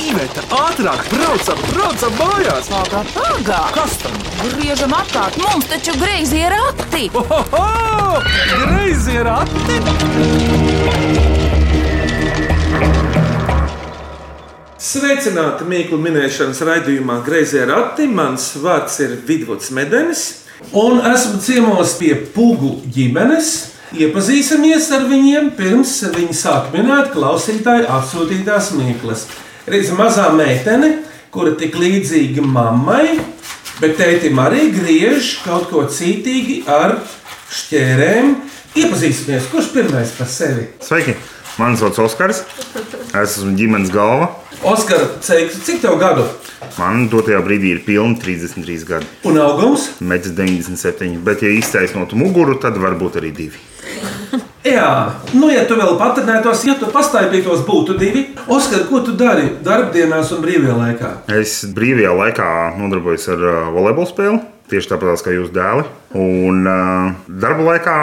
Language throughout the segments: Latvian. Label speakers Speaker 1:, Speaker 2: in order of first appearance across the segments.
Speaker 1: Iveta, ātrāk, braucam, braucam mājās!
Speaker 2: Pagā, pagā!
Speaker 1: Kas tam?
Speaker 2: Griežam apkārt, mums taču greizi ir akti!
Speaker 1: Ohoho! Greizi ir ati! Sveicināti mīklu minēšanas raidījumā Greizie rati. Mans vārds ir Vidvuds Medenis. Un esmu ciemos pie Pugu ģimenes. Iepazīsimies ar viņiem pirms viņi sāk minēt klausītāju apsūtītās mīklas. Reiz mazā meitene, kura tik līdzīga mammai, bet tētim arī griež kaut ko cītīgi ar šķērēm. Iepazīsimies, kurš pirmais par sevi?
Speaker 3: Sveiki! Mani sauc Oskars. Es esmu ģimenes galva.
Speaker 1: Oskar, ceļš, cik tev gadu?
Speaker 3: Man dotajā brīdī ir pilni 33 gadi.
Speaker 1: Un augums?
Speaker 3: Mēģis 97, bet, ja iztaisnotu muguru, tad varbūt arī divi.
Speaker 1: Jā, nu, ja tu vēl patrenētos, ja tu pastaigātos, būtu divi. Oskar, ko tu dari darbdienās un brīvajā laikā?
Speaker 3: Es brīvajā laikā nodarbojos ar uh, volejbola spēli. Tieši tāpat kā jūsu dēli. Un uh, darba laikā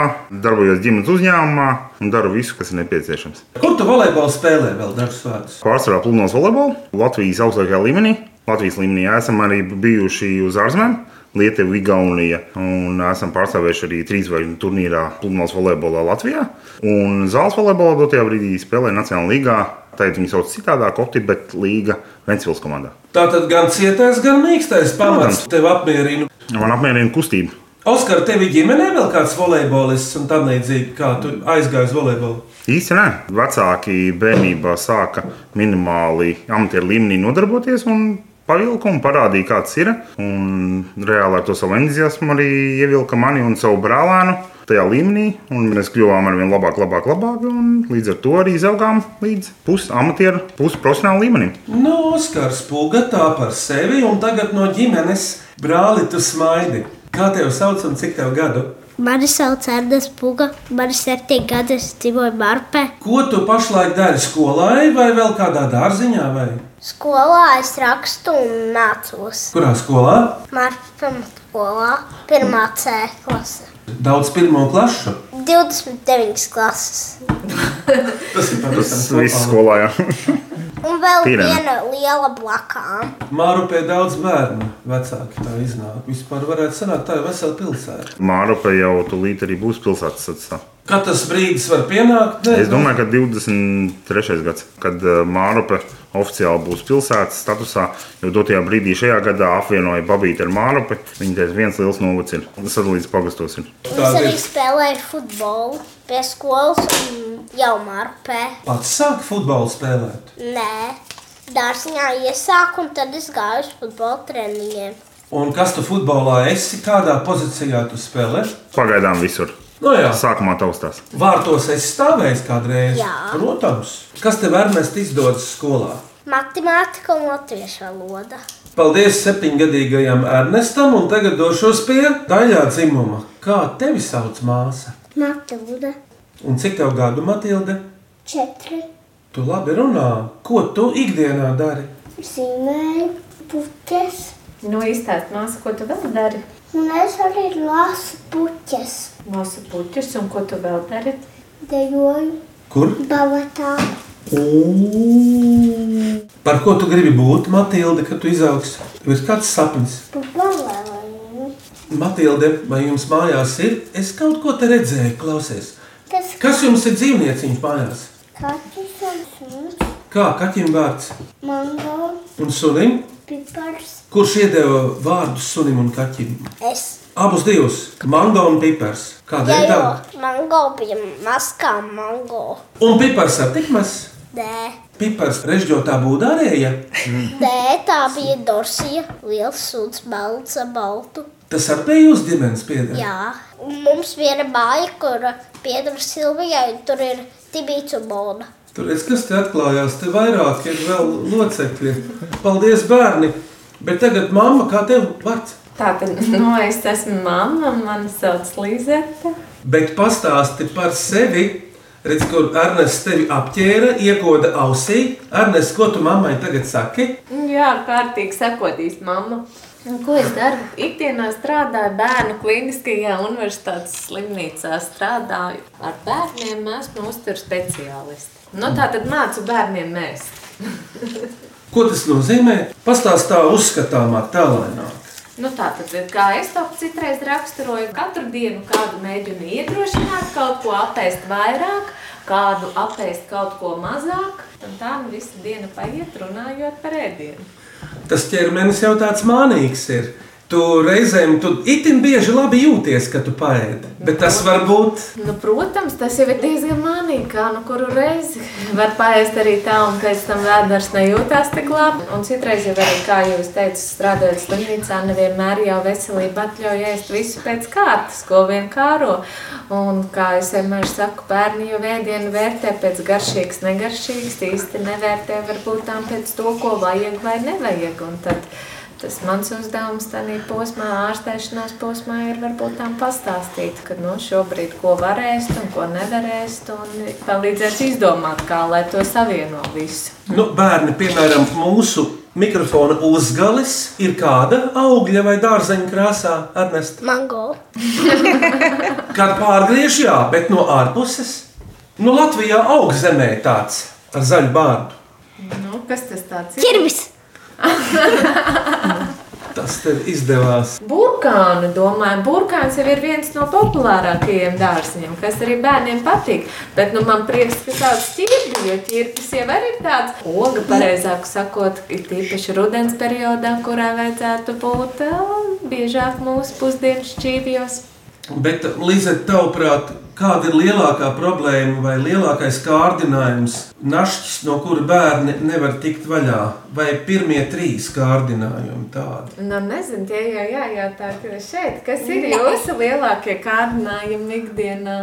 Speaker 3: darbojos ģimenes uzņēmumā un daru visu, kas ir nepieciešams.
Speaker 1: Kur tu volejbolu spēlē vēl dažus vārdus?
Speaker 3: Pārsvarā plūnos volejbolu Latvijas augstākajā līmenī. Latvijas līmenī esam arī bijuši uz ārzemēm. Lietuva, Igaunija, un esam pārstāvējuši arī trīsvaigžņu turnīrā plūmās volejbolā Latvijā. Un zāles volejbolā dotajā brīdī spēlēja Nacionālajā līgā. Tagad viņi sauc citādāk, opti, bet līga Ventspils komandā.
Speaker 1: Tā tad gan cietais, gan mīkstais pamats
Speaker 3: Protams.
Speaker 1: tev apmierina.
Speaker 3: Man apmierina kustība.
Speaker 1: Oskar, tev ir ģimenē vēl kāds volejbolists un tam līdzīgi, kā tu aizgāji uz volejbolu.
Speaker 3: Īsti nē, vecāki bērnībā sāka minimāli amatieru līmenī nodarboties un pavilka un parādīja, kāds ir. Un reāli ar to savu entuziasmu arī ievilka mani un savu brālēnu tajā līmenī. Un mēs kļuvām ar vien labāk, labāk, labāk. Un līdz ar to arī izaugām līdz pusamatieru, pusprofesionāla līmenim.
Speaker 1: Nu, Oskars, pūga tā par sevi, un tagad no ģimenes brāli tu smaidi. Kā tev sauc un cik tev gadu?
Speaker 4: Mani sauc Ernsts Puga, man ir septiņi gadi, es dzīvoju Marpē.
Speaker 1: Ko tu pašlaik dari skolai vai vēl kādā dārziņā? Vai?
Speaker 4: Skolā es rakstu un mācos.
Speaker 1: Kurā skolā?
Speaker 4: Marpē skolā pirmā C klase.
Speaker 1: Daudz pirmo klašu.
Speaker 4: 29 klases.
Speaker 1: Tas ir
Speaker 3: Tas viss skolā jā.
Speaker 4: Un vēl
Speaker 3: Pirena.
Speaker 4: viena liela blakām.
Speaker 1: Māru pie daudz bērnu vecāki tā iznāk. Vispār varētu sanākt tā ir vesela pilsēta.
Speaker 3: Māropa jau tūlīt arī būs pilsētas atstāta.
Speaker 1: Kad tas brīdis var pienākt?
Speaker 3: Es domāju, ka 23. gads, kad uh, Mārupe oficiāli būs pilsētas statusā, jo dotajā brīdī šajā gadā apvienoja Babīti ar Mārupi. Viņa teica, viens liels novads ir. Sadalīts pagastos ir.
Speaker 4: Un
Speaker 1: Tāda
Speaker 4: Es arī
Speaker 1: ir.
Speaker 4: spēlēju futbolu pie skolas un jau Marpē.
Speaker 1: Pats sāk futbolu spēlēt.
Speaker 4: Nē, dārziņā iesāku un tad es gāju uz futbola treniņiem.
Speaker 1: Un kas tu futbolā esi? Kādā pozīcijā tu spēlē?
Speaker 3: Pagaidām visur.
Speaker 1: Nu jā,
Speaker 3: Sākumā taustās.
Speaker 1: vārtos es stāvēju kādreiz.
Speaker 4: Jā.
Speaker 1: Protams. Kas tev ernest izdodas skolā?
Speaker 4: Matemātika un latviešu valoda.
Speaker 1: Paldies septiņgadīgajam Ernestam, un tagad došos pie daļā dzimuma. Kā tevi sauc māsa?
Speaker 4: Matilda
Speaker 1: Un cik tev gadu, Matilde?
Speaker 4: 4.
Speaker 1: Tu labi runā, ko tu ikdienā dari?
Speaker 4: Zīmēju puķes,
Speaker 5: Nu, izstāst, māsa, ko tu vēl dari?
Speaker 4: un es arī lasu puķes.
Speaker 5: Māsu puķus, un ko tu vēl dari?
Speaker 4: Dejoju
Speaker 1: Kur?
Speaker 4: baletā.
Speaker 1: Par ko tu gribi būt, Matilde, kad tu izaugs? Tev ir kāds sapnis.
Speaker 4: Pa balēju.
Speaker 1: Matilde, vai jums mājās ir? Es kaut ko te redzēju, klausies.
Speaker 4: Tas
Speaker 1: Kas jums ir dzīvnieciņš mājās?
Speaker 4: kaķis un suns,
Speaker 1: Kā kaķim vārds?
Speaker 4: mango,
Speaker 1: Un sunim?
Speaker 4: pipars.
Speaker 1: Kurš iedeva vārdu sunim un kaķim?
Speaker 4: Es.
Speaker 1: Abus divus - mango un pipars.
Speaker 4: Jā,
Speaker 1: Kādēļ
Speaker 4: jo
Speaker 1: tā?
Speaker 4: mango bija maskā mango.
Speaker 1: Un pipars ar tikmas,
Speaker 4: Nē,
Speaker 1: pipars režģotā būdārēja.
Speaker 4: Nē tā bija dorsija. Liels suns, balts, ar baltu.
Speaker 1: Tas arī bija jūsu ģimenes piedevums.
Speaker 4: Jā, un mums viena māja, kur pieder Silvijai, un tur ir Tibīts un Bona.
Speaker 1: Tur redz, kas te atklājās, te vairāk ir vēl locekļi. Paldies, bērni! Bet tagad mamma, kā tev vārds?
Speaker 5: Tā tad, nu, es esmu mamma, un mani sauc Līzete.
Speaker 1: Bet pastāsti par sevi. Redz, kur Ernests tevi apģēra, iekoda ausī. Ernests, ko tu mammai tagad saki?
Speaker 5: Mm, Jā, kārtīgi sakotīs mamma. Un Ko es daru? Ikdienā strādāju bērnu kliniskajā universitātes slimnīcā. Strādāju ar bērniem, esmu uzturu speciālisti. Nu, tā tad mācu bērniem mēs.
Speaker 1: Ko tas nozīmē? Pastāstā tā uzskatāmā tālēnā.
Speaker 5: Nu, tā tad, kā es to citreiz raksturoju, katru dienu kādu mēģinu iedrošināt, kaut ko apēst vairāk, kādu apēst kaut ko mazāk. Un tā nu visu dienu paiet runājot par ēdienu.
Speaker 1: Tas ķermenis jau tāds mānīgs ir. Tu reizēm tu itin bieži labi jūties, kad tu paēdi. Bet tas var būt
Speaker 5: Nu, protams, tas jau ir diezgan mānīgi, kā nu kuru reizi var paēst arī tā, un pēc tam vēders nejūtās tik labi. Un citreiz jau arī, kā jūs teicat, strādājot slimnīcā, nevienmēr jau veselība atļauj ēst visu pēc kārtas, ko vien kāro. Un kā es vienmēr saku, bērni jau vēdienu vērtē pēc garšīgas, negaršīgas, īsti nevērtē varbūt tām pēc to, ko vajag vai nevajag. Un tad Tas mans uzdevums tādā posmā, ārstēšanās posmā, ir varbūt tām pastāstīt, ka nu, šobrīd ko varēs un ko nevarēs, un palīdzēs izdomāt, kā lai to savieno visu.
Speaker 1: nu, bērni, piemēram, mūsu mikrofona uzgalis, ir kāda augļa vai dārzeņa krāsā atnesta.
Speaker 4: Mango.
Speaker 1: Kad pārgriež, jā, bet no ārpuses. No Latvijā augzemē tāds ar zaļu bārdu.
Speaker 5: Nu, kas tas tāds ir?
Speaker 4: Ķirvis.
Speaker 1: Tas tev izdevās.
Speaker 5: Burkāni, domāju, burkāns jau ir viens no populārākajiem dārziņiem, kas arī bērniem patīk. Bet nu, man prieks, ka tāds ķirbis, jo ķirbis jau arī ir tāds oga, pareizāk sakot, ir tīpaši rudens periodā, kurā vajadzētu būt ā, biežāk mūsu pusdienu šķīvjos.
Speaker 1: Bet, Līze, tavuprāt, kāda ir lielākā problēma vai lielākais kārdinājums, našķis, no kura bērni nevar tikt vaļā? Vai pirmie trīs kārdinājumi tādi?
Speaker 5: Nu, nezinu, tie jau jājautā ka šeit, kas ir jūsu lielākie kārdinājumi ikdienā.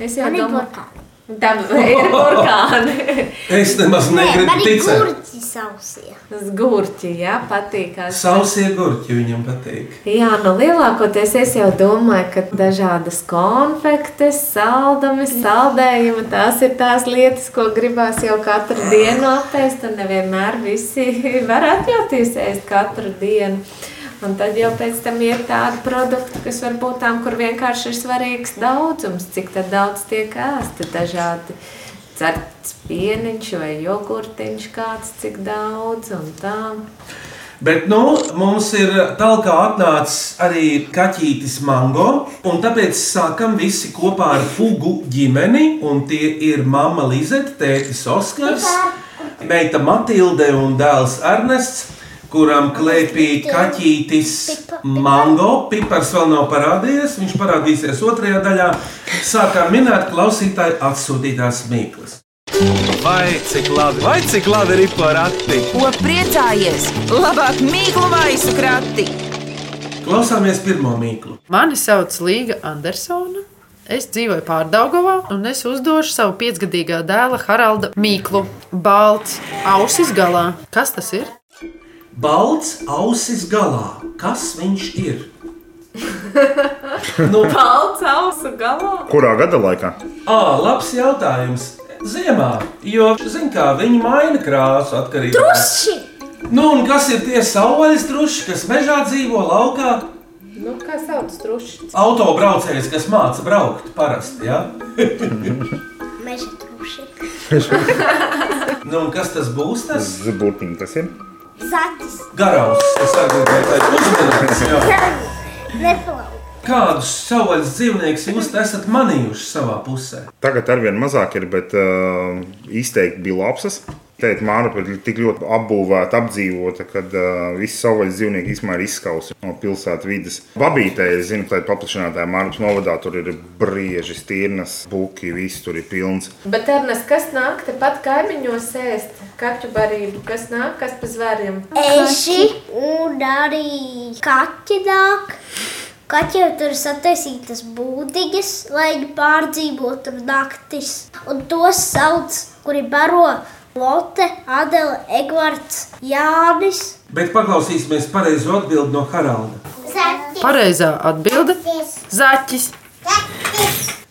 Speaker 5: Es jau
Speaker 4: Man ir
Speaker 5: domāju,
Speaker 4: burkā.
Speaker 5: tam ir burkāni.
Speaker 1: Es nemaz
Speaker 4: Nē, man
Speaker 1: negribu
Speaker 4: ir
Speaker 1: ticēt.
Speaker 4: gurķi sausie.
Speaker 5: Zgurķi, jā, patīkās.
Speaker 1: Sausie gurķi viņam patīk.
Speaker 5: Jā, nu lielākoties es jau domāju, ka dažādas konfektes, saldumi, saldējumi, tās ir tās lietas, ko gribās jau katru dienu apēst, un nevienmēr visi var atļauties ēst katru dienu. Un tad jau pēc tam ir tādi produkti, kas varbūt tām, kur vienkārši ir svarīgs daudzums, cik tad daudz tiek ēsti dažādi. Certs pieniņš vai jogurtiņš kāds, cik daudz un tā.
Speaker 1: Bet nu, mums ir tālāk atnācis arī kaķītis mango. un Tāpēc sākam visi kopā ar Fugu ģimeni. un Tie ir mamma Lizete, tētis Oskars, meita Matilde un dēls Ernests, kuram klēpī kaķītis mango. Pipars vēl nav parādījies, viņš parādīsies otrajā daļā. Sākām minēt klausītāju atsūtītās mīklas.
Speaker 6: Vai cik labi, vai cik labi ir porakti?
Speaker 2: Ko priecājies? Labāk mīklu maisu krati.
Speaker 1: Klausāmies pirmo mīklu.
Speaker 7: Mani sauc Līga Andersona. Es dzīvoju Pārdagovā, un es uzdošu savu piecgadīgā dēla Haralda Mīklu. Balts, ausis galā. Kas tas ir?
Speaker 1: Balts ausis galā. Kas viņš ir? nu,
Speaker 5: Balts ausu galā!
Speaker 3: Kurā gada laikā?
Speaker 1: ā, labs jautājums. Ziemā, jo, zin kā, viņi maina krāsu atkarībā no tā.
Speaker 4: Puši.
Speaker 1: Nu, un kas ir tie savvaļas truši, kas mežā dzīvo laukā?
Speaker 5: Nu, kā sauc truši?
Speaker 1: Autobraucējs, kas māca braukt parasti, ja?
Speaker 4: Meža trūši.
Speaker 1: Nu, un kas tas būs tas?
Speaker 3: Zvaigznes tas ir.
Speaker 4: Zatis.
Speaker 1: Garaus, kas atbildēja tāds uzmanīgs, jā.
Speaker 4: Neplau.
Speaker 1: Kādus savvaļas dzīvniekus jūs esat manījuši savā pusē?
Speaker 3: Tagad ar vien mazāk ir, bet uh, izteikti bija lapsas. Teikt, Māra ir tik ļoti apbūvēta, apdzīvota, ka uh, visi savvaļas dzīvnieki īstenībā ir izskausti no pilsētas vidas. Babītē, es zinu, ka tā ir paplašinātāja Māras novadā, tur ir brieži, stīrnas, buki, viss tur ir pilns.
Speaker 5: Bet, Ernest, kas nāk tepat kaimiņos ēst kaķu barību? Kas nāk, kas pa zvēriem?
Speaker 4: Eši un arī kaķi nāk. Kaķi jau tur sataisītas būdiņas, lai viņi pārdzīvotu naktis. Un tos sauc, kuri baro Lotte, Adela, Egvarts, Jānis.
Speaker 1: Bet paklausīsimies pareizo atbildi no Haralda.
Speaker 4: Zaķis.
Speaker 7: Pareizā atbilde - zaķis.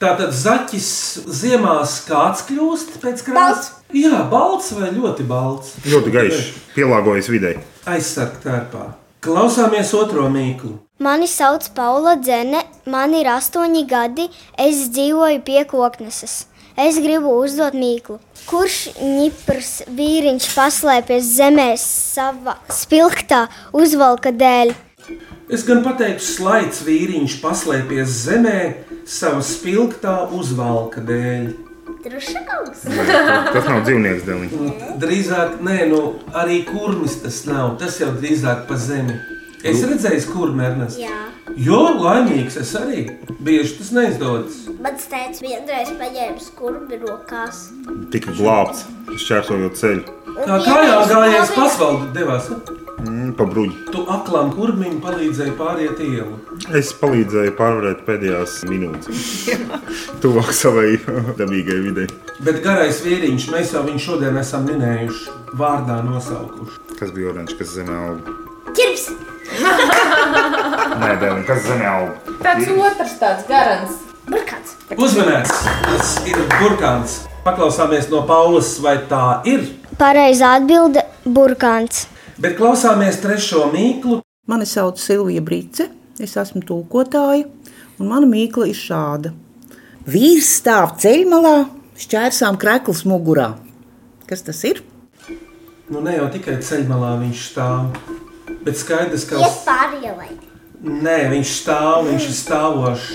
Speaker 1: Tātad zaķis ziemā kāds kļūst pēc krāsas.
Speaker 4: Balts.
Speaker 1: Jā, balts vai ļoti balts.
Speaker 3: Ļoti gaišs, pielāgojas videi.
Speaker 1: Aizsargā tērpā. Klausāmies otro mīklu.
Speaker 8: Mani sauc Paula Dzene, man ir astoņi gadi, es dzīvoju pie kokneses.
Speaker 4: Es gribu uzdot mīklu. Kurš ņiprs vīriņš paslēpies zemē savā spilgtā uzvalka dēļ?
Speaker 1: Es gan pateiktu, slaids vīriņš paslēpies zemē savas spilgtā uzvalka dēļ.
Speaker 4: Trušakaugs.
Speaker 3: Tas nav dzīvnieks dēliņš.
Speaker 1: Drīzāk, nē, nu, arī kurmis tas nav. Tas jau drīzāk pa zemi. Es
Speaker 3: Nu.
Speaker 1: redzēju, kur mērnēs.
Speaker 4: Jā.
Speaker 1: Jo laimīgs es arī. Bieži tas neizdodas.
Speaker 4: Mans tēvs vienreiz paņēma skurbi rokās.
Speaker 3: Tika glābts, šķērsojot ceļu.
Speaker 1: Kā kājā gājējis pasvaldu devās. ne?
Speaker 3: Mm, Pa bruģi.
Speaker 1: Tu aklām kurmīm palīdzēji pāriet ielu.
Speaker 3: Es palīdzēju pārvarēt pēdējās minūtes. Tuvāk savai dabīgai videi.
Speaker 1: Bet garais vīriņš, mēs jau viņu šodien esam minējuši, vārdā nosaukuši.
Speaker 3: Kas bija oranžs, kas zemē auga?
Speaker 4: Ķirps!
Speaker 3: Nē, dēliņ, kas zemē auga?
Speaker 5: Tāds otrs tāds garants.
Speaker 4: Burkāns!
Speaker 1: Uzmanīgs! Tas ir burkāns. Paklausāmies no Paulas, vai tā ir.
Speaker 4: Pareizā atbilde - burkāns.
Speaker 1: Bet klausāmies trešo mīklu.
Speaker 8: Mani sauc Silvija Brīce, es esmu tūkotāja, un mana mīkla ir šāda. Vīrs stāv ceļmalā, šķērsām krēklus mugurā. Kas tas ir?
Speaker 1: Nu, ne jau tikai ceļmalā viņš stāv. Bet skaidrs, ka
Speaker 4: Iet pāri ielai.
Speaker 1: Nē, viņš stāv, viņš ir stāvošs.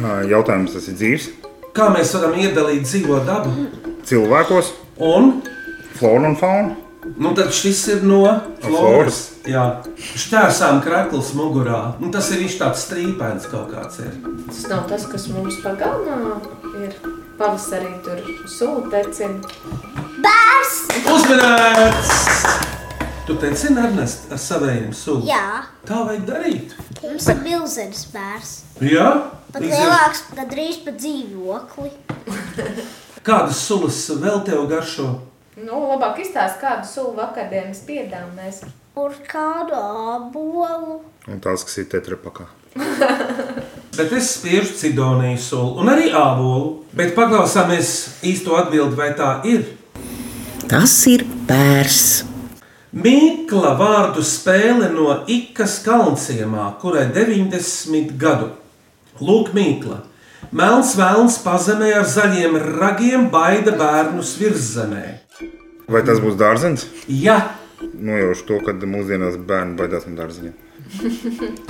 Speaker 3: Ā, Jautājums tas ir dzīves.
Speaker 1: Kā mēs varam iedalīt dzīvo dabu?
Speaker 3: Cilvēkos,
Speaker 1: Un
Speaker 3: flora un fauna.
Speaker 1: nu, tad šis ir no floras.
Speaker 3: floras.
Speaker 1: Jā, šķērsām krāklus mugurā. Nu, tas ir viņš tāds strīpēns kaut kāds. Ir.
Speaker 5: Tas nav tas, kas mums pagalmā ir. Pavasarī tur sūta decina.
Speaker 4: Bārs!
Speaker 1: Uzmanīgs! Tu teici, Ernest, ar saviem sūkļiem.
Speaker 4: Jā,
Speaker 1: Tā vajag darīt.
Speaker 4: mums ir milzīgs bārs.
Speaker 1: Jā,
Speaker 4: Pat
Speaker 1: Izvēl-
Speaker 4: lielāks, gandrīz pat dzīvokli.
Speaker 1: Kādas sulas vēl tev garšo?
Speaker 5: Nu, labāk izstāst, kādu sulu vakardienas piedām mēs.
Speaker 4: Kur kādu abolu?
Speaker 3: Un tās, kas ir tetrapakā.
Speaker 1: Bet es spiežu cidoniju sulu un arī ābolu. Bet paklausāmies īsto atbildi, vai tā ir.
Speaker 8: Tas ir pērs.
Speaker 1: Mīkla vārdu spēle no Ikas kalnciemā, kurai 90 gadu. Lūk, Mīkla. Melns vēlns pazemē ar zaļiem ragiem baida bērnus virszemē.
Speaker 3: Vai tas būs dārzenis?
Speaker 1: Ja
Speaker 3: Nojaušu to, ka mūsdienās bērni baidās no dārzeņiem.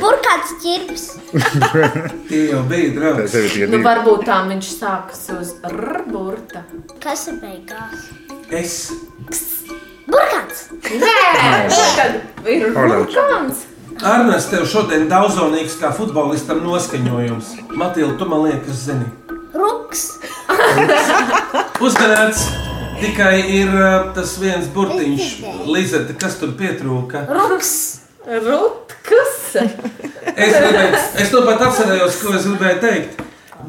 Speaker 4: Kur kāds ķirps?
Speaker 1: tie jau bija
Speaker 3: Tā
Speaker 1: draugi,
Speaker 3: tev ir tie
Speaker 5: Nu,
Speaker 3: divi.
Speaker 5: varbūt tā viņš sākas uz rburta.
Speaker 4: Kas ir beigās?
Speaker 1: es
Speaker 4: Burkāns!
Speaker 5: Nē, tagad ir
Speaker 3: Oranžs.
Speaker 5: vulkāns.
Speaker 1: Arnēs, tev šodien daudzonīgs kā futbolistam noskaņojums. Matīla, tu man liekas, zini.
Speaker 4: Ruks!
Speaker 1: Uzmanīts! Tikai ir uh, tas viens burtiņš, Lizete, kas tur pietrūka.
Speaker 4: Ruks!
Speaker 5: Rutkas.
Speaker 1: Es, gribēju, es to pat atcerējos, ko es gribēju teikt.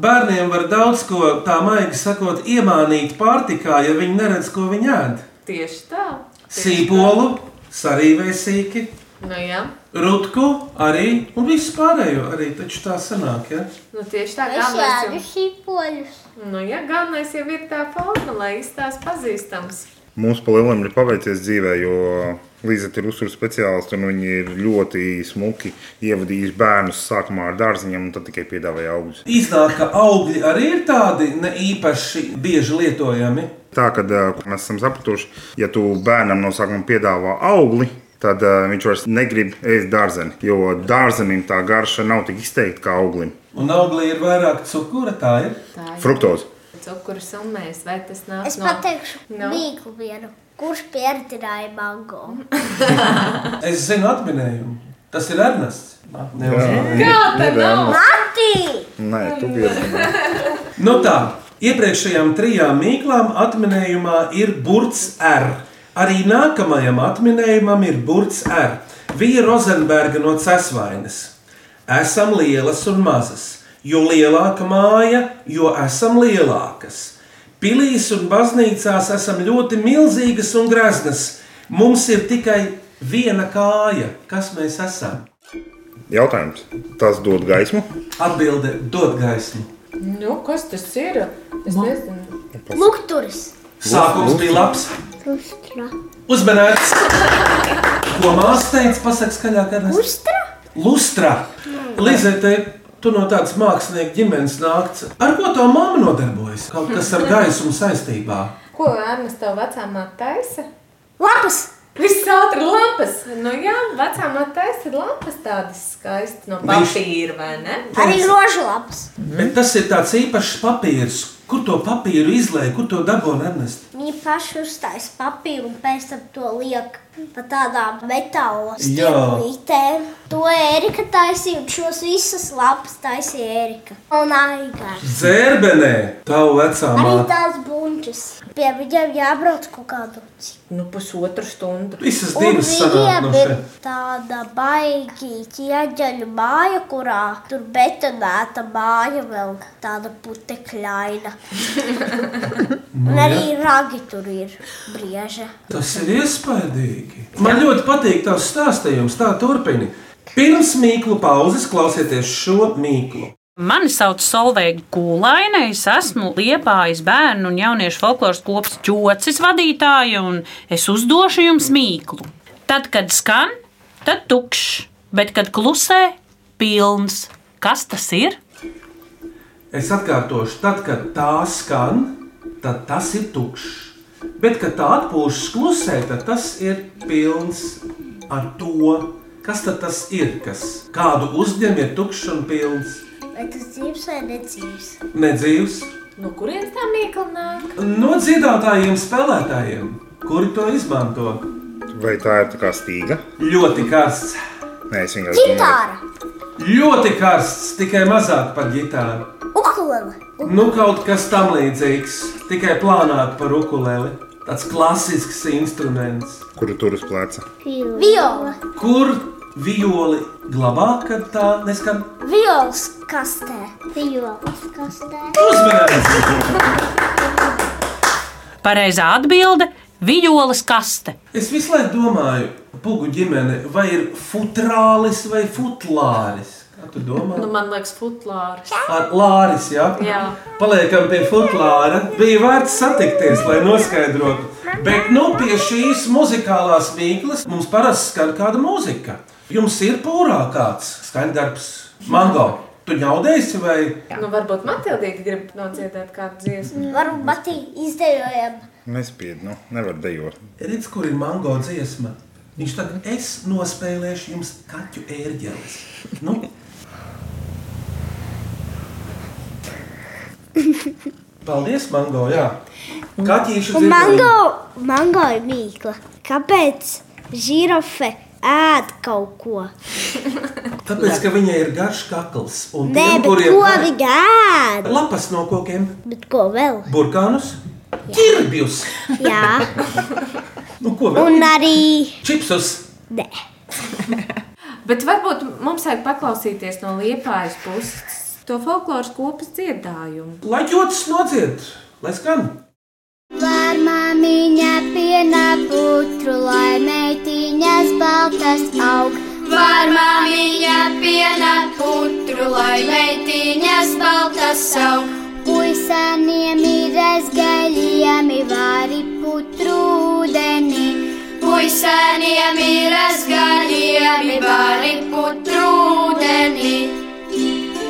Speaker 1: Bērniem var daudz ko tā maigi sakot, iemānīt pārtikā, ja viņi neredz, ko viņi ēd.
Speaker 5: Tieši tā.
Speaker 1: Sīpolu, sarīvēsīki,
Speaker 5: Nu, jā.
Speaker 1: rutku arī un visu pārējo arī. Taču tā sanāk, ja?
Speaker 5: Nu, tieši tā,
Speaker 4: Es
Speaker 5: galvenais
Speaker 4: jādu šīpoļus.
Speaker 5: jau, nu, jā, galvenais jau ir tā forma, lai izstāst pazīstams.
Speaker 3: Mums pa lielam ir paveicies dzīvē, jo Līdzekļi ir uzturs speciālisti, un viņi ir ļoti smuki ievadījuši bērnus sākumā ar dārziņiem, un tad tikai piedāvāja augļus.
Speaker 1: Iznāk, ka augļi arī ir tādi ne īpaši bieži lietojami.
Speaker 3: Tā kā mēs esam sapratuši, ja tu bērnam no sākuma piedāvā augli, tad uh, viņš vairs negrib ēst dārzeni. Jo dārzenim tā garša nav tik izteikta kā auglim.
Speaker 1: Un auglī ir vairāk cukura, tā ir.
Speaker 5: Tā ir
Speaker 3: Fruktoze.
Speaker 5: cukurs un mēs, vai tas nāk
Speaker 4: Es
Speaker 5: no...
Speaker 4: pateikšu
Speaker 5: No.
Speaker 4: mīklu vienu. Kurš pieredzināja mango?
Speaker 1: Es zinu atminējumu. Tas ir Ernests. Neuzmanīgi.
Speaker 5: Kā tad nav?
Speaker 4: Mati!
Speaker 3: Nē, tu pieredzēji.
Speaker 1: Nu tā, iepriekšējām trijām mīklām atminējumā ir burts R. Arī nākamajam atminējumam ir burts R. Vija Rozenberga no Cēsvainas. Esam lielas un mazas. Jo lielāka māja, jo esam lielākas. Pilīs un baznīcās esam ļoti milzīgas un graznas. Mums ir tikai viena kāja, kas mēs esam.
Speaker 3: Jautājums. Tas dod gaismu.
Speaker 1: Atbilde dod gaismu.
Speaker 5: Nu, kas tas ir? Es nezinu.
Speaker 4: Lukturis!
Speaker 1: Sākums bija labs.
Speaker 4: Lustra!
Speaker 1: Uzmanīgs! Ko mākslinieks teica? Pasakiet, skaļāk, kāda ir
Speaker 4: Lustra?
Speaker 1: lustra. Lizete, Tu no tādas mākslinieku ģimenes nākts. Ar ko tā māma nodarbojas? Kaut kas ar gaisumu saistībā.
Speaker 5: Ko Ernsts tev vecā māte taisa?
Speaker 4: Lapas!
Speaker 5: Viss ātri lapas. Nu jā, vecā māte taisa lapas tādas skaistas no
Speaker 1: Viņš-
Speaker 5: papīra, vai ne?
Speaker 4: Arī rožu lapas.
Speaker 1: Bet tas ir tāds īpašs papīrs, kur to papīru izlēja, kur to dabūna Ernest.
Speaker 4: Viņi paši uztaisīja papīru un pēc tam to liek pa tādām metāla
Speaker 1: Jā.
Speaker 4: stūrītēm. To Erika taisīja, un šos visus lapas taisīja Erika. Un Aigars.
Speaker 1: Zērbenē, tavu vecā
Speaker 4: Arī
Speaker 1: māte.
Speaker 4: tās bunčas. Pie viņiem jābrauc kaut kādu citu.
Speaker 5: Nu, pusotru stundu.
Speaker 1: Visas
Speaker 4: Un
Speaker 1: divas sanāk no
Speaker 4: viņiem ir
Speaker 1: šeit.
Speaker 4: tāda baigīga ķieģeļu māja, kurā tur betonēta māja vēl tāda putekļaina. un
Speaker 1: Nu,
Speaker 4: arī ragi tur ir brieža.
Speaker 1: Tas ir iespaidīgi. Man ļoti patīk tavs stāstījums, tā turpini. Pirms mīklu pauzes klausieties šo mīklu.
Speaker 9: Mani sauc Solveiga Kūlaine, es esmu Liepājas bērnu un jauniešu folkloras kopas ķocis vadītāja, un es uzdošu jums mīklu. Tad, kad skan, tad tukšs, bet kad klusē, pilns. Kas tas ir?
Speaker 1: Es atkārtošu, tad, kad tā skan, tad tas ir tukšs. Bet, kad tā atpūšas klusē, tad tas ir pilns ar to, kas tad tas ir, kas kādu uzņem, ir tukšs un pilns,
Speaker 4: Vai tas dzīves vai nedzīves?
Speaker 1: nedzīvs.
Speaker 5: No Nu, kurienes tā mīkla nāk?
Speaker 1: No dziedātājiem, spēlētājiem, kuri to izmanto.
Speaker 3: Vai tā ir tā kā stīga?
Speaker 1: Ļoti karsts,
Speaker 3: Nē, es vienkārši
Speaker 4: Gitāra,
Speaker 1: ļoti karsts, tikai mazāk par ģitāru.
Speaker 4: ukulele,
Speaker 1: Nu, kaut kas tam līdzīgs, tikai plānāk par ukuleli. Tāds klasisks instruments,
Speaker 3: kuru tur uz pleca.
Speaker 4: viola,
Speaker 1: kur violi glabā, kad tā neskan.
Speaker 4: violas kastē. Violas kastē.
Speaker 1: Uzmanības!
Speaker 9: Pareizā atbilde - vijoles kaste.
Speaker 1: Es visu laiku domāju, pugu ģimene, vai ir futrālis vai futlāris. Kā tu domā?
Speaker 5: Nu, man liekas, futlārs.
Speaker 1: Ar Lāris, jā?
Speaker 5: Jā.
Speaker 1: Paliekam pie futlāra. Bija vērts satikties, lai noskaidrotu. Bet nu pie šīs muzikālās mīklas mums parasti skan kāda mūzika. Jums ir pūrā kāds skaņdarbs, mango. Tu ņaudēsi vai
Speaker 5: Nu, varbūt Matildīte grib nodziedāt kādu dziesmu.
Speaker 4: Varbūt Matī izdejojam.
Speaker 3: Nespīd, nu, nevar dejot.
Speaker 1: redz, kur ir mango dziesma? Viņš tad es nospēlēšu jums kaķu ērģeles. Nu, Paldies, mango, jā. Kaķīšu
Speaker 4: Un
Speaker 1: dzirdēju.
Speaker 4: mango, mango ir mīkla. Kāpēc žirafe ēd kaut ko?
Speaker 1: Tāpēc, ka viņai ir garš kakls un
Speaker 4: Nē,
Speaker 1: tiem,
Speaker 4: bet
Speaker 1: kuriem
Speaker 4: ko
Speaker 1: ir
Speaker 4: viņa ēd?
Speaker 1: lapas no kokiem,
Speaker 4: Bet ko vēl?
Speaker 1: burkānus, ķirbjus,
Speaker 4: Jā,
Speaker 1: nu, ko vēl?
Speaker 4: un arī.
Speaker 1: Čipsus.
Speaker 4: Nē.
Speaker 5: Bet varbūt mums vajag paklausīties no liepājas puses to folkloras kopas dziedājumu.
Speaker 1: Lai jūtas nodzied, lai skan.
Speaker 4: Var māmiņa piena putru, lai meitiņas baltas aug. Var māmiņa piena putru, lai meitiņas baltas aug. Puisaniem ir gaļiemi, vari putru ūdeni. Puisaniem ir gaļiemi, vari putru ūdeni.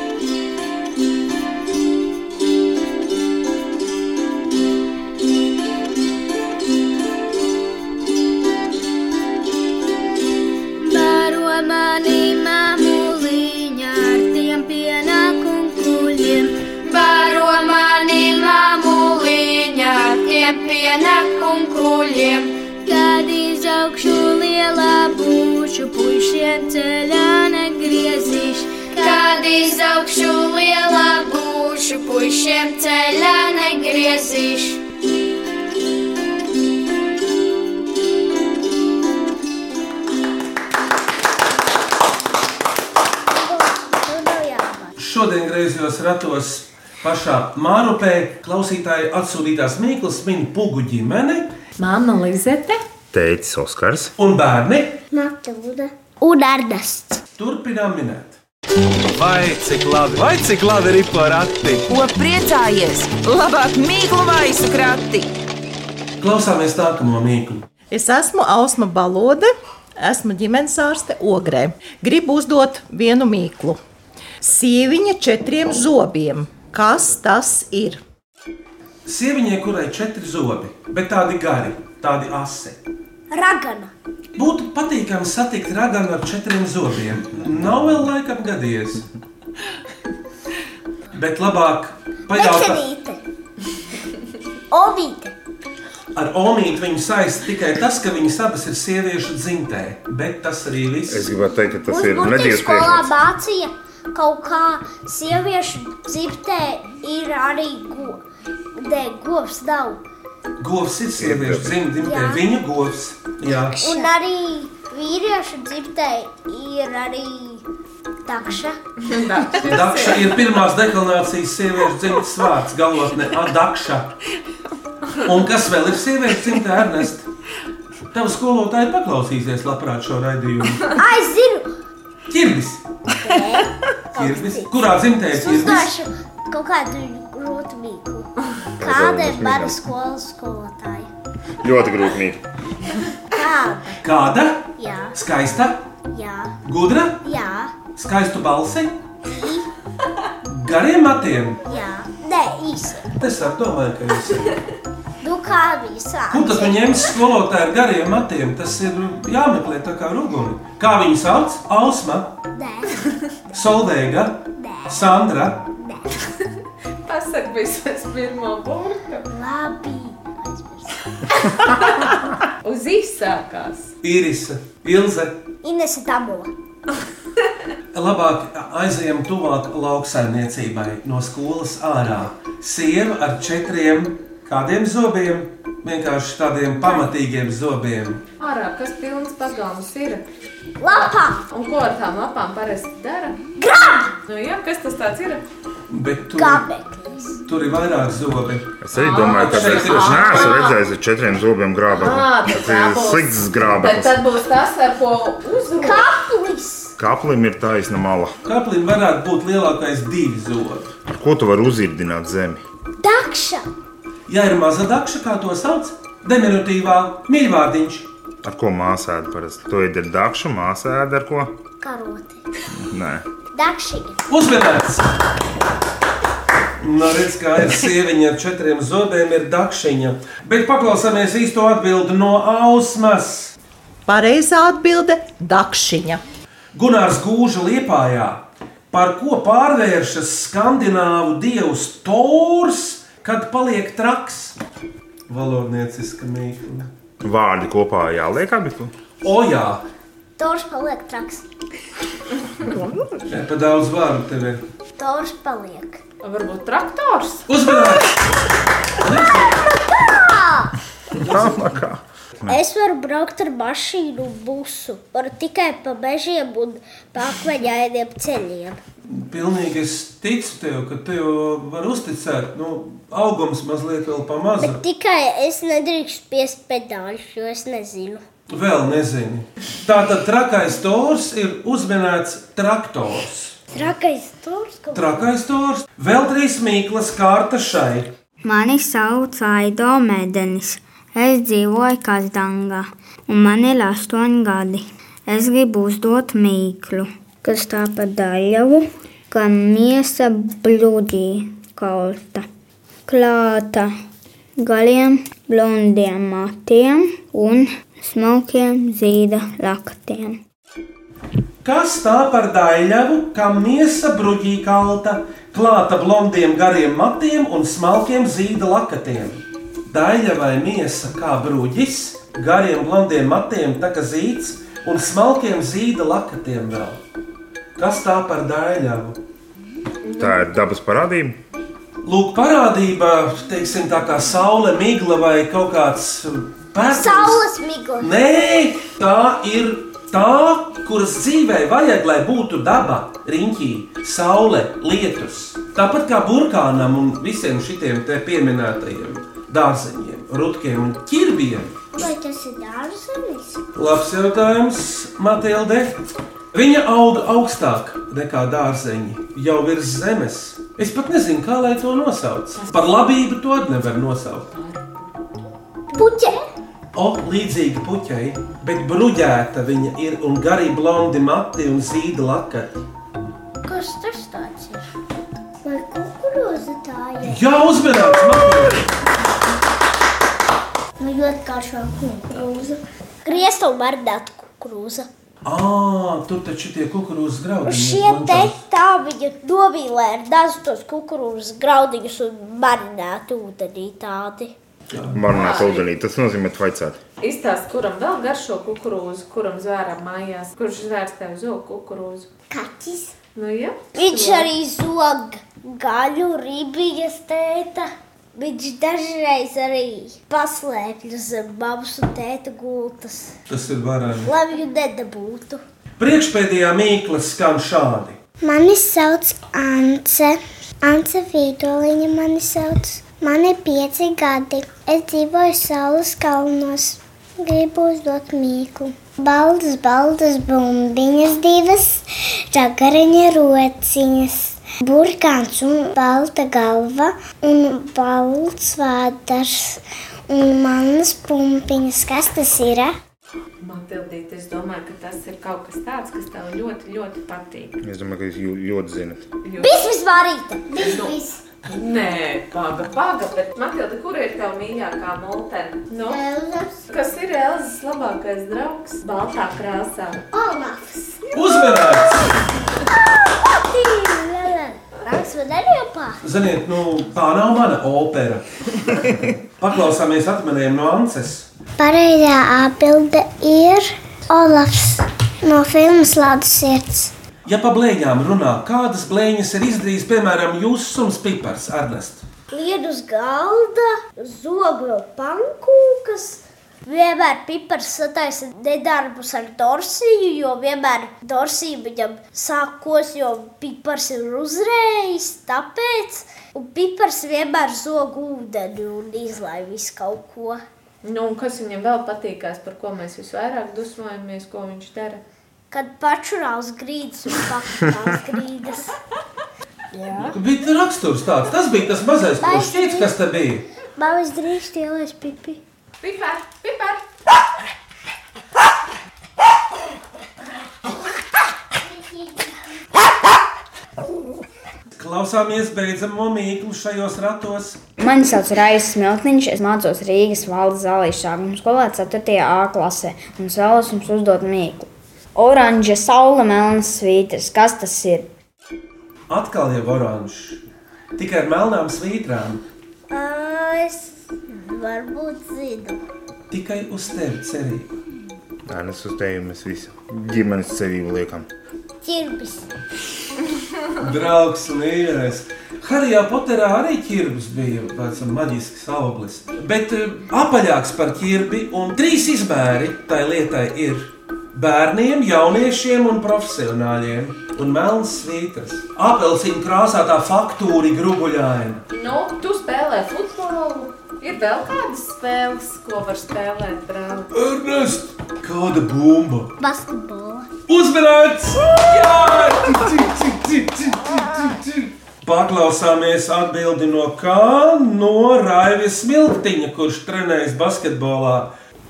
Speaker 4: Baro mani mamuliņa ar tiem pienākumkuļiem. Baro mani mamuliņa ar tiem pienākumkuļiem. Kad izaugšu lielā būšu, pušiem ceļā negriezīšu. Kad izaugšu lielā būšu, pušiem ceļā negriezīšu.
Speaker 1: Šodien griezos ratos pašā Mārupē. Klausītāji atsūtītās mīklas min pugu ģimene
Speaker 5: Māma Lizete.
Speaker 3: Teicis Oskars.
Speaker 1: un bērni.
Speaker 4: Matilda un Ernests.
Speaker 1: Turpinām minēt.
Speaker 6: Vai cik labi, vai cik labi ir porakti?
Speaker 2: Ko priecājies? Labāk mīklu maisu krati!
Speaker 1: Klausāmies nākamo mīklu.
Speaker 10: Es esmu Ausma Balode, esmu ģimenes ārste Ogrē. Gribu uzdot vienu mīklu. Sieviņa četriem zobiem. Kas tas ir?
Speaker 1: Sieviņai, kurai ir četri zobi, bet tādi gari, tādi asi.
Speaker 4: Ragana.
Speaker 1: Būtu patīkami satikt raganu ar četriem zobiem. Nav vēl laika apgadies. Bet labāk pajautāt.
Speaker 4: Mecenīte. Obīte.
Speaker 1: Ar Omīti viņu saista tikai tas, ka viņas abas ir sieviešu dzimtē. Bet tas arī viss.
Speaker 3: Es gribētu teikt, ka tas
Speaker 4: Mums
Speaker 3: ir
Speaker 4: būtībā
Speaker 3: nedēļas
Speaker 4: skolā
Speaker 3: priekšmets.
Speaker 4: mācīja kaut kā sieviešu dzimtē ir arī go. Nē, govs nav.
Speaker 1: Govs ir sieviešu dzim- dzimtē,
Speaker 4: Jā.
Speaker 1: viņa govs. Jā.
Speaker 4: Un arī vīriešu dzimtē ir arī takša.
Speaker 1: Dakša ir pirmās deklarācijas sieviešu dzimtes vārds galotnē - Adakša. Un kas vēl ir sieviešu dzimtē, Ernest? Tev skolotāji paklausīsies labprāt šo raidījumu.
Speaker 4: Ai, es zinu,
Speaker 1: Ķirbis! Ķirbis. Kurā dzimtē ir
Speaker 4: es
Speaker 1: ķirbis?
Speaker 4: uzdošu kaut kādu grūtu mīklu. Kāda ir mana skolas skolotāja?
Speaker 3: Ļoti grūtīgi.
Speaker 4: Kāda?
Speaker 1: Kāda?
Speaker 4: Jā,
Speaker 1: Skaista,
Speaker 4: jā,
Speaker 1: gudra,
Speaker 4: jā,
Speaker 1: skaistu balsi, gariem matiem.
Speaker 4: jā. Nē, īsi.
Speaker 1: Es ar domāju, ka jūs esat.
Speaker 4: Nu, kā viņi sāk?
Speaker 1: Kur tad viņi ņems skolotāju ar gariem matiem? Tas ir jāmeklē tā kā rūgumi. Kā viņi sauc? Ausma,
Speaker 4: Nē.
Speaker 1: Solveiga, Sandra.
Speaker 5: Pasak vismaz pirmo burtu.
Speaker 4: Labi.
Speaker 5: Uz izsākās.
Speaker 1: Irisa, Ilze,
Speaker 4: Ines ir dabula.
Speaker 1: labāk aizejam tuvāk lauksaimniecībai, no skolas ārā. Sieva ar četriem kādiem zobiem, vienkārši tādiem pamatīgiem zobiem.
Speaker 5: Ārā, kas pilns pagalmas ir.
Speaker 4: Lapā.
Speaker 5: Un ko ar tām lapām parasti dara?
Speaker 4: Grab.
Speaker 5: Nu jā, kas tas tāds ir?
Speaker 1: Bet tur,
Speaker 4: Gabeklis.
Speaker 1: tur ir vairāk zobi.
Speaker 3: Es arī domāju, ka
Speaker 1: šeit
Speaker 3: tas
Speaker 1: ir-
Speaker 3: ir. Es neesmu redzējis ar četriem zobiem
Speaker 5: Ā,
Speaker 3: grābekli.
Speaker 5: Ah, tas
Speaker 3: Tas ir
Speaker 5: dabūs.
Speaker 3: slikts
Speaker 5: Bet
Speaker 3: grābeklis.
Speaker 5: tad būs tas, ar ko uzrunāt.
Speaker 4: Kaplis.
Speaker 3: Kaplim ir taisna mala.
Speaker 1: Kaplim varētu būt lielākais divi zobi.
Speaker 3: Ar ko tu vari uzirdināt zemi?
Speaker 4: Dakša.
Speaker 1: Ja ir maza dakša, kā to sauc, diminutīvā mīlvārdiņš.
Speaker 3: Ar ko māsēda parasti? To ir dakša, māsēda ar ko?
Speaker 4: Karoti.
Speaker 3: Nē.
Speaker 4: Dakšiņa.
Speaker 1: Uzvedēts! Nu, redz, kā ir sieviņa ar četriem zobiem, ir dakšiņa. Bet paklausāmies īsto atbildi no ausmas.
Speaker 10: Pareizā atbilde - dakšiņa.
Speaker 1: Gunārs Gūža liepājā. Par ko pārvēršas skandināvu dievs Tors, kad paliek traks? Valodnieciska mīkla.
Speaker 3: Vārdi kopā jāliek abi. tu?
Speaker 1: O jā,
Speaker 4: Tors paliek traks.
Speaker 1: ne pa daudz vārdu tev ir.
Speaker 4: Tors paliek.
Speaker 5: Varbūt traktors.
Speaker 1: Uzvedēts!
Speaker 3: Tā kā.
Speaker 4: Es varu braukt ar mašīnu, busu. Varu tikai pa mežiem un pa akmeņainiem ceļiem.
Speaker 1: Pilnīgi es ticu tev, ka tev var uzticēt. Nu, augums mazliet vēl pamazs.
Speaker 4: Bet tikai es nedrīkstu piest pedāļus, jo es nezinu.
Speaker 1: Vēl nezinu. Tā tad trakais tors ir uzminēts traktors.
Speaker 4: Trakais tors, ko
Speaker 1: Trakais tors, vēl trīs mīklas kārta šai.
Speaker 11: Mani sauc Aido Mēdenis. Es dzīvoju Kazdangā, un man ir astoņi gadi. Es gribu uzdot mīklu, kas tā pa daļavu, kā miesa blūdī kalta. Klāta galiem, blondiem matiem un smalkiem zīda laktiem.
Speaker 1: Kas tā par daļļavu, kā miesa bruģī kalta, klāta blondiem gariem matiem un smalkiem zīda lakatiem? Daļļa vai miesa kā bruģis, gariem blondiem matiem, tā kā zīds un smalkiem zīda lakatiem vēl. Kas tā par daļļavu?
Speaker 3: Tā ir dabas parādība.
Speaker 1: Lūk, parādība, teiksim, tā kā saule, migla vai kaut kāds pēdas.
Speaker 4: Saules migla.
Speaker 1: Nē, tā ir tā, kuras dzīvē vajag, lai būtu daba, riņķī, saule, lietus. Tāpat kā burkānam un visiem šiem te pieminētajiem dārzeņiem, rutkiem un ķirbiem.
Speaker 4: Vai tas ir dārzenis?
Speaker 1: Labs jautājums, Matilde. Viņa aug augstāk nekā dārzeņi, jau virs zemes. Es pat nezinu, kā lai to nosauc. Par labību to nevar nosaukt.
Speaker 4: Puķe.
Speaker 1: O, līdzīga puķei, bet bruģēta viņa ir un garīgi blondi mati un zīda lakati.
Speaker 4: Kas kas tas tāds ir? Vai kukurūza tā ir?
Speaker 1: Jā, uzmanīgs, mākslinieks!
Speaker 4: Nu, ļoti karšā kukurūza. Griestu bardāt kukurūza.
Speaker 1: Ā, tur taču tie kukurūzas graudi.
Speaker 4: Šie te tā viņa dobīlē ir dažus tos kukurūzas graudiņus un marinētu ūdenī tādi.
Speaker 3: Marināts ūdenī, tas nozīmē tvaicāt.
Speaker 5: Izstāst, kuram vēl garšo kukurūzu, kuram zvēram mājās, kurš zvērs tev zog kukurūzu.
Speaker 4: Kaķis.
Speaker 5: Nu, jā.
Speaker 4: Viņš arī zog gaļu, rībīgas tēta. Viņš dažreiz arī paslēpjas zem mammas un tēta gultas,
Speaker 1: Tas ir varami.
Speaker 4: lai viņu nedabūtu.
Speaker 1: Priekšpēdējā mīkla skan šādi.
Speaker 12: Mani sauc Ance. Ance Vīdoliņa mani sauc. Man ir pieci gadi. Es dzīvoju saules kalnos. Gribu uzdot mīklu. Baldas, baldas bumbiņas divas, žagariņa rociņas. Burkāns un balta galva un balts vādars un manas pumpiņas. Kas tas ir? eh?
Speaker 5: Matildīt, es domāju, ka tas ir kaut kas tāds, kas tev ļoti, ļoti patīk.
Speaker 3: Es domāju, ka jūs jū- ļoti zinat.
Speaker 4: Bismas vārīta!
Speaker 5: Bismas! Nē, paga, paga, bet Matilda, kur ir tava mīļākā multene? Nu? Kas ir Elzas labākais draugs? Baltā krāsā.
Speaker 4: Olafs!
Speaker 1: Uzmanīgs!
Speaker 4: Rāks man arī apā.
Speaker 1: Ziniet, nu, tā nav mana opera. Paklausāmies atmiņām no Ances.
Speaker 12: Pareizā atbilde ir Olafs no filmas Lādes sirds.
Speaker 1: Ja pa blēņām runā, kādas blēņas ir izdarījis, piemēram, jūsu suns Pipars Ernest?
Speaker 4: Lied uz galda, zog vēl pankūkas. Vienmēr pipars sataisa nedarbus ar dorsiju, jo vienmēr dorsija viņam sākos, jo pipars ir uzrējis, tāpēc. Un pipars vienmēr zog ūdeni un izlai visu kaut ko.
Speaker 5: Nu, un kas viņam vēl patīkās, par ko mēs visvairāk dusmojamies, ko viņš dara?
Speaker 4: Kad pačurās grīdas un pakāpās grīdas. Jā.
Speaker 1: Bija tas raksturs tāds, tas bija tas mazais pušķīts, kas te bija.
Speaker 12: Man visdrīz stielēs pipi.
Speaker 5: Pipār, pipār!
Speaker 1: Klausāmies beidzamo mīklu šajos ratos.
Speaker 13: Mani sauc Raisa Smiltiņš, es mācos Rīgas valdes zālīšu sākuma skolā 4. A klasē un es vēlos jums uzdot mīklu. Oranža, saule, melnas svītras, kas tas ir?
Speaker 1: Atkal jau oranžs, tikai ar melnām svītrām,
Speaker 4: Ā, Es varbūt zinu.
Speaker 1: tikai uz tevi cerību.
Speaker 3: Tā nes nu, uz tevi mēs visi ģimenes cerību liekam.
Speaker 4: Ķirbis.
Speaker 1: Draugs un īres. Harijā Poterā arī ķirbis bija tāds maģisks auglis. Bet eh, apaļāks par ķirbi un trīs izmēri tai lietai ir bērniem, jauniešiem un profesionāļiem. Un melns svītras. Apelsīna krāsā tā faktūra ir grubuļaina.
Speaker 5: Nu, tu spēlē futbolu. Ir vēl kādas spēles, ko var spēlēt, brāl.
Speaker 1: Ernest! Kāda bumba!
Speaker 4: Basketbola.
Speaker 1: Uzmanīts! Jā! Cik, cik, cik, cik, cik, cik. Paklausāmies atbildi no kā? No Raivis Smiltiņa, kurš trenējas basketbolā.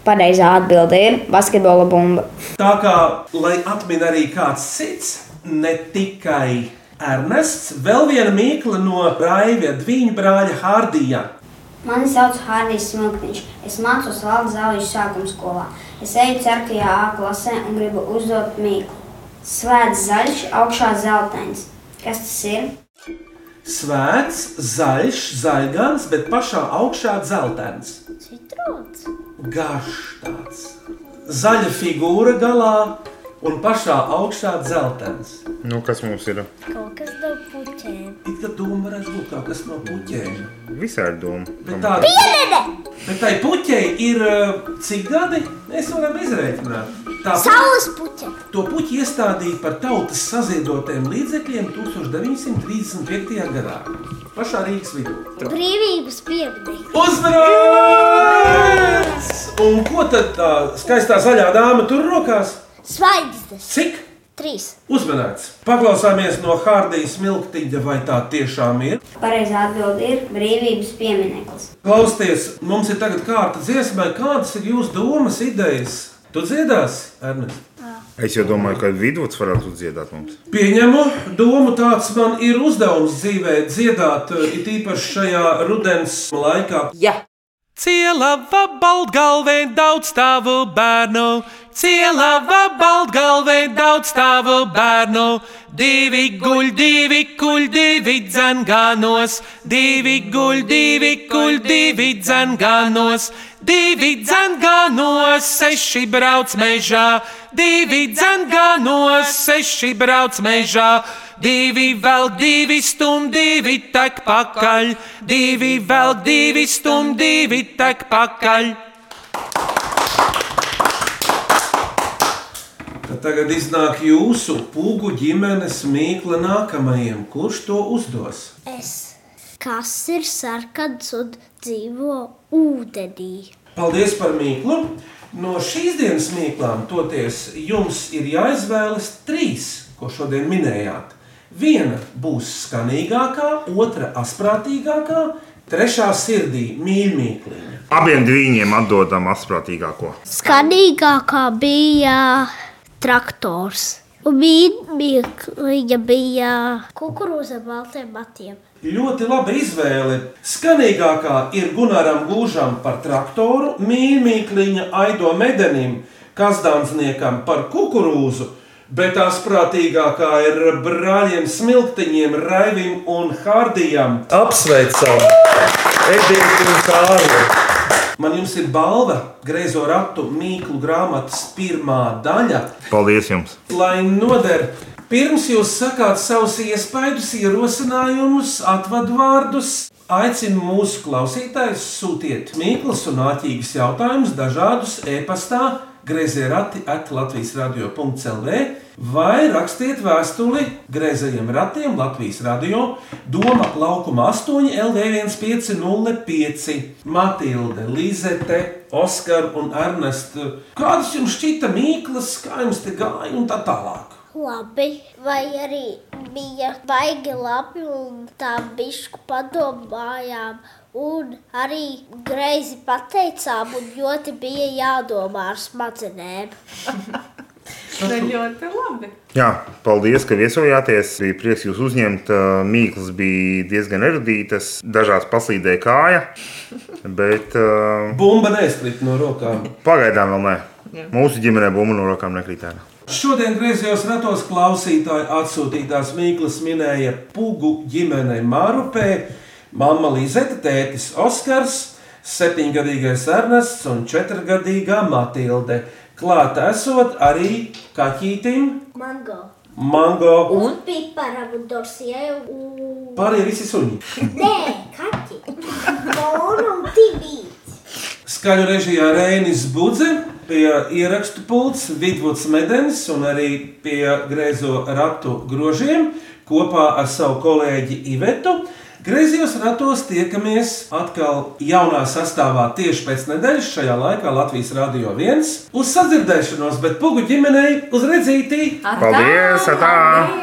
Speaker 13: Pareizā atbilde ir basketbola bumba.
Speaker 1: Tā kā, lai atmin arī kāds cits, ne tikai Ernests, vēl viena mīkla no Raivis Dviņu brāļa Hārdijā.
Speaker 14: Mani sauc Hārdijs Smilkņš. Es mācos Valdes zālīšu sākuma skolā. Es eju 4. A klasē un gribu uzdot mīklu. Svēts zaļš, augšā zeltains. Kas tas ir?
Speaker 1: Svēts, zaļš, zaļgans, bet pašā augšā dzeltens.
Speaker 4: Citrots.
Speaker 1: garš tāds. Zaļa figūra galā un pašā augšā dzeltens.
Speaker 3: Nu, kas mums ir?
Speaker 4: Kaut kas no puķēm.
Speaker 1: It kā doma varētu būt kaut kas no puķēm.
Speaker 3: Visādi doma.
Speaker 1: Bet tā Bet tai puķei ir uh, cik gadi? Mēs varam izrēķināt. Tā
Speaker 4: Saules puķe.
Speaker 1: To puķi iestādīja par tautas saziedotiem līdzekļiem 1935. gadā. Pašā Rīgas vidū.
Speaker 4: Brīvības piemineklis.
Speaker 1: Uzmanības! Un ko tad tā skaistā zaļā dāma tur rokās?
Speaker 4: Svaigznes.
Speaker 1: Cik?
Speaker 4: Trīs.
Speaker 1: Uzmanīts! Paklausāmies no Hārdijas smilktiņa, vai tā tiešām ir.
Speaker 14: Pareizā atbilde ir brīvības piemineklis.
Speaker 1: Klausieties, mums ir tagad kārta dziesmai, kādas ir jūsu domas, idejas? Tu dziedāsi, Ernest?
Speaker 3: Es jau domāju, ka vidus varētu dziedāt mums.
Speaker 1: Pieņemu domu, tāds man ir uzdevums dzīvē, dziedāt, eh, it īpaši šajā rudens laikā.
Speaker 6: Jā. Cielava baltgalvē daudz stāvu bērnu, cielava baltgalvē daudz stāvu bērnu, divi guļ, divi kuļ, divi dzanganos, divi guļ, divi kuļ, divi dzanganos, divi dzanganos, seši brauc mežā, divi dzanganos, seši brauc mežā. Divi vēl divi stum, divi tek pakaļ, divi vēl divi stum, divi tek pakaļ.
Speaker 1: Tad tagad iznāk jūsu pūgu ģimenes mīkla nākamajam. Kurš to uzdos?
Speaker 4: Es. Kas ir sarkans un dzīvo ūdenī?
Speaker 1: Paldies par mīklu! No šīs dienas mīklām toties jums ir jāizvēlas trīs, ko šodien minējāt. Viena būs skanīgākā, otra asprātīgākā, trešā sirdī mīļākā.
Speaker 3: Abiem diviem atdodam astprātīgāko.
Speaker 4: Skanīgākā bija traktors. Un mīļākā bija kukurūza ar baltajiem matiem.
Speaker 1: Ļoti laba izvēle. Skanīgākā ir Gunaram Gūžam par traktoru, mīmīkliņa Aido Medenim, kazdānsniekam par kukurūzu, bet tās prātīgākā ir brāļiem Smiltiņiem, Raivim un Hārdijam. Apsveicam! Edita un Kārli! Man jums ir balva Greizo ratu mīklu grāmatas pirmā daļa
Speaker 3: Paldies jums!
Speaker 1: lai noder. Pirms jūs sakāt savus iespaidus, ierosinājumus, atvadu vārdus, aicinu mūsu klausītājus sūtiet mīklus un āķīgus jautājumus dažādus e-pastā, grazējot rati Latvijas radio. CELV vai rakstiet vēstuli grazējiem ratiem Latvijas radio Doma laukuma 8 LV1505 Matilde, Lizete, Oskar un Ernest. Kādas jums šķita mīklas, kā jums te gāja un tā tālāk?
Speaker 4: Labi, vai arī bija baigi labi, un tā bišku padomājām, un arī greizi pateicām, un ļoti bija jādomā ar smadzenēm.
Speaker 5: Tas ļoti labi.
Speaker 3: Jā, paldies, ka viesojāties. Bija prieks jūs uzņemt. Ā, Mīklas bija diezgan erudītas, dažās paslīdēja kāja. Bet. ā,
Speaker 1: Bumba neizkrīt no rokām.
Speaker 3: Pagaidām vēl nē.
Speaker 1: Jā.
Speaker 3: Mūsu ģimenē bumba no rokām nekrīt ārā.
Speaker 1: Šodien griezījos ratos klausītāji atsūtītās mīklas minēja Pugu ģimenei Mārupē, mamma Līzeta, tētis Oskars, septiņgadīgais Ernests un četrgadīgā Matilde. Klāta esot arī kaķītim,
Speaker 4: Mango.
Speaker 1: mango
Speaker 4: Un piparam un dorsijai. Un...
Speaker 1: pārējie visi suņi.
Speaker 4: Nē, kaķi. Un un tivī.
Speaker 1: Skaļu režijā Rēnis Budze, pie ierakstu pults Vidvuds Medens un arī pie grēzo ratu grožiem kopā ar savu kolēģi Ivetu. Grēzījos ratos tiekamies atkal jaunā sastāvā tieši pēc nedēļas, šajā laikā Latvijas Rādio 1. Uz sadzirdēšanos, bet pugu ģimenei uz redzītī!
Speaker 3: Paldies! Atā!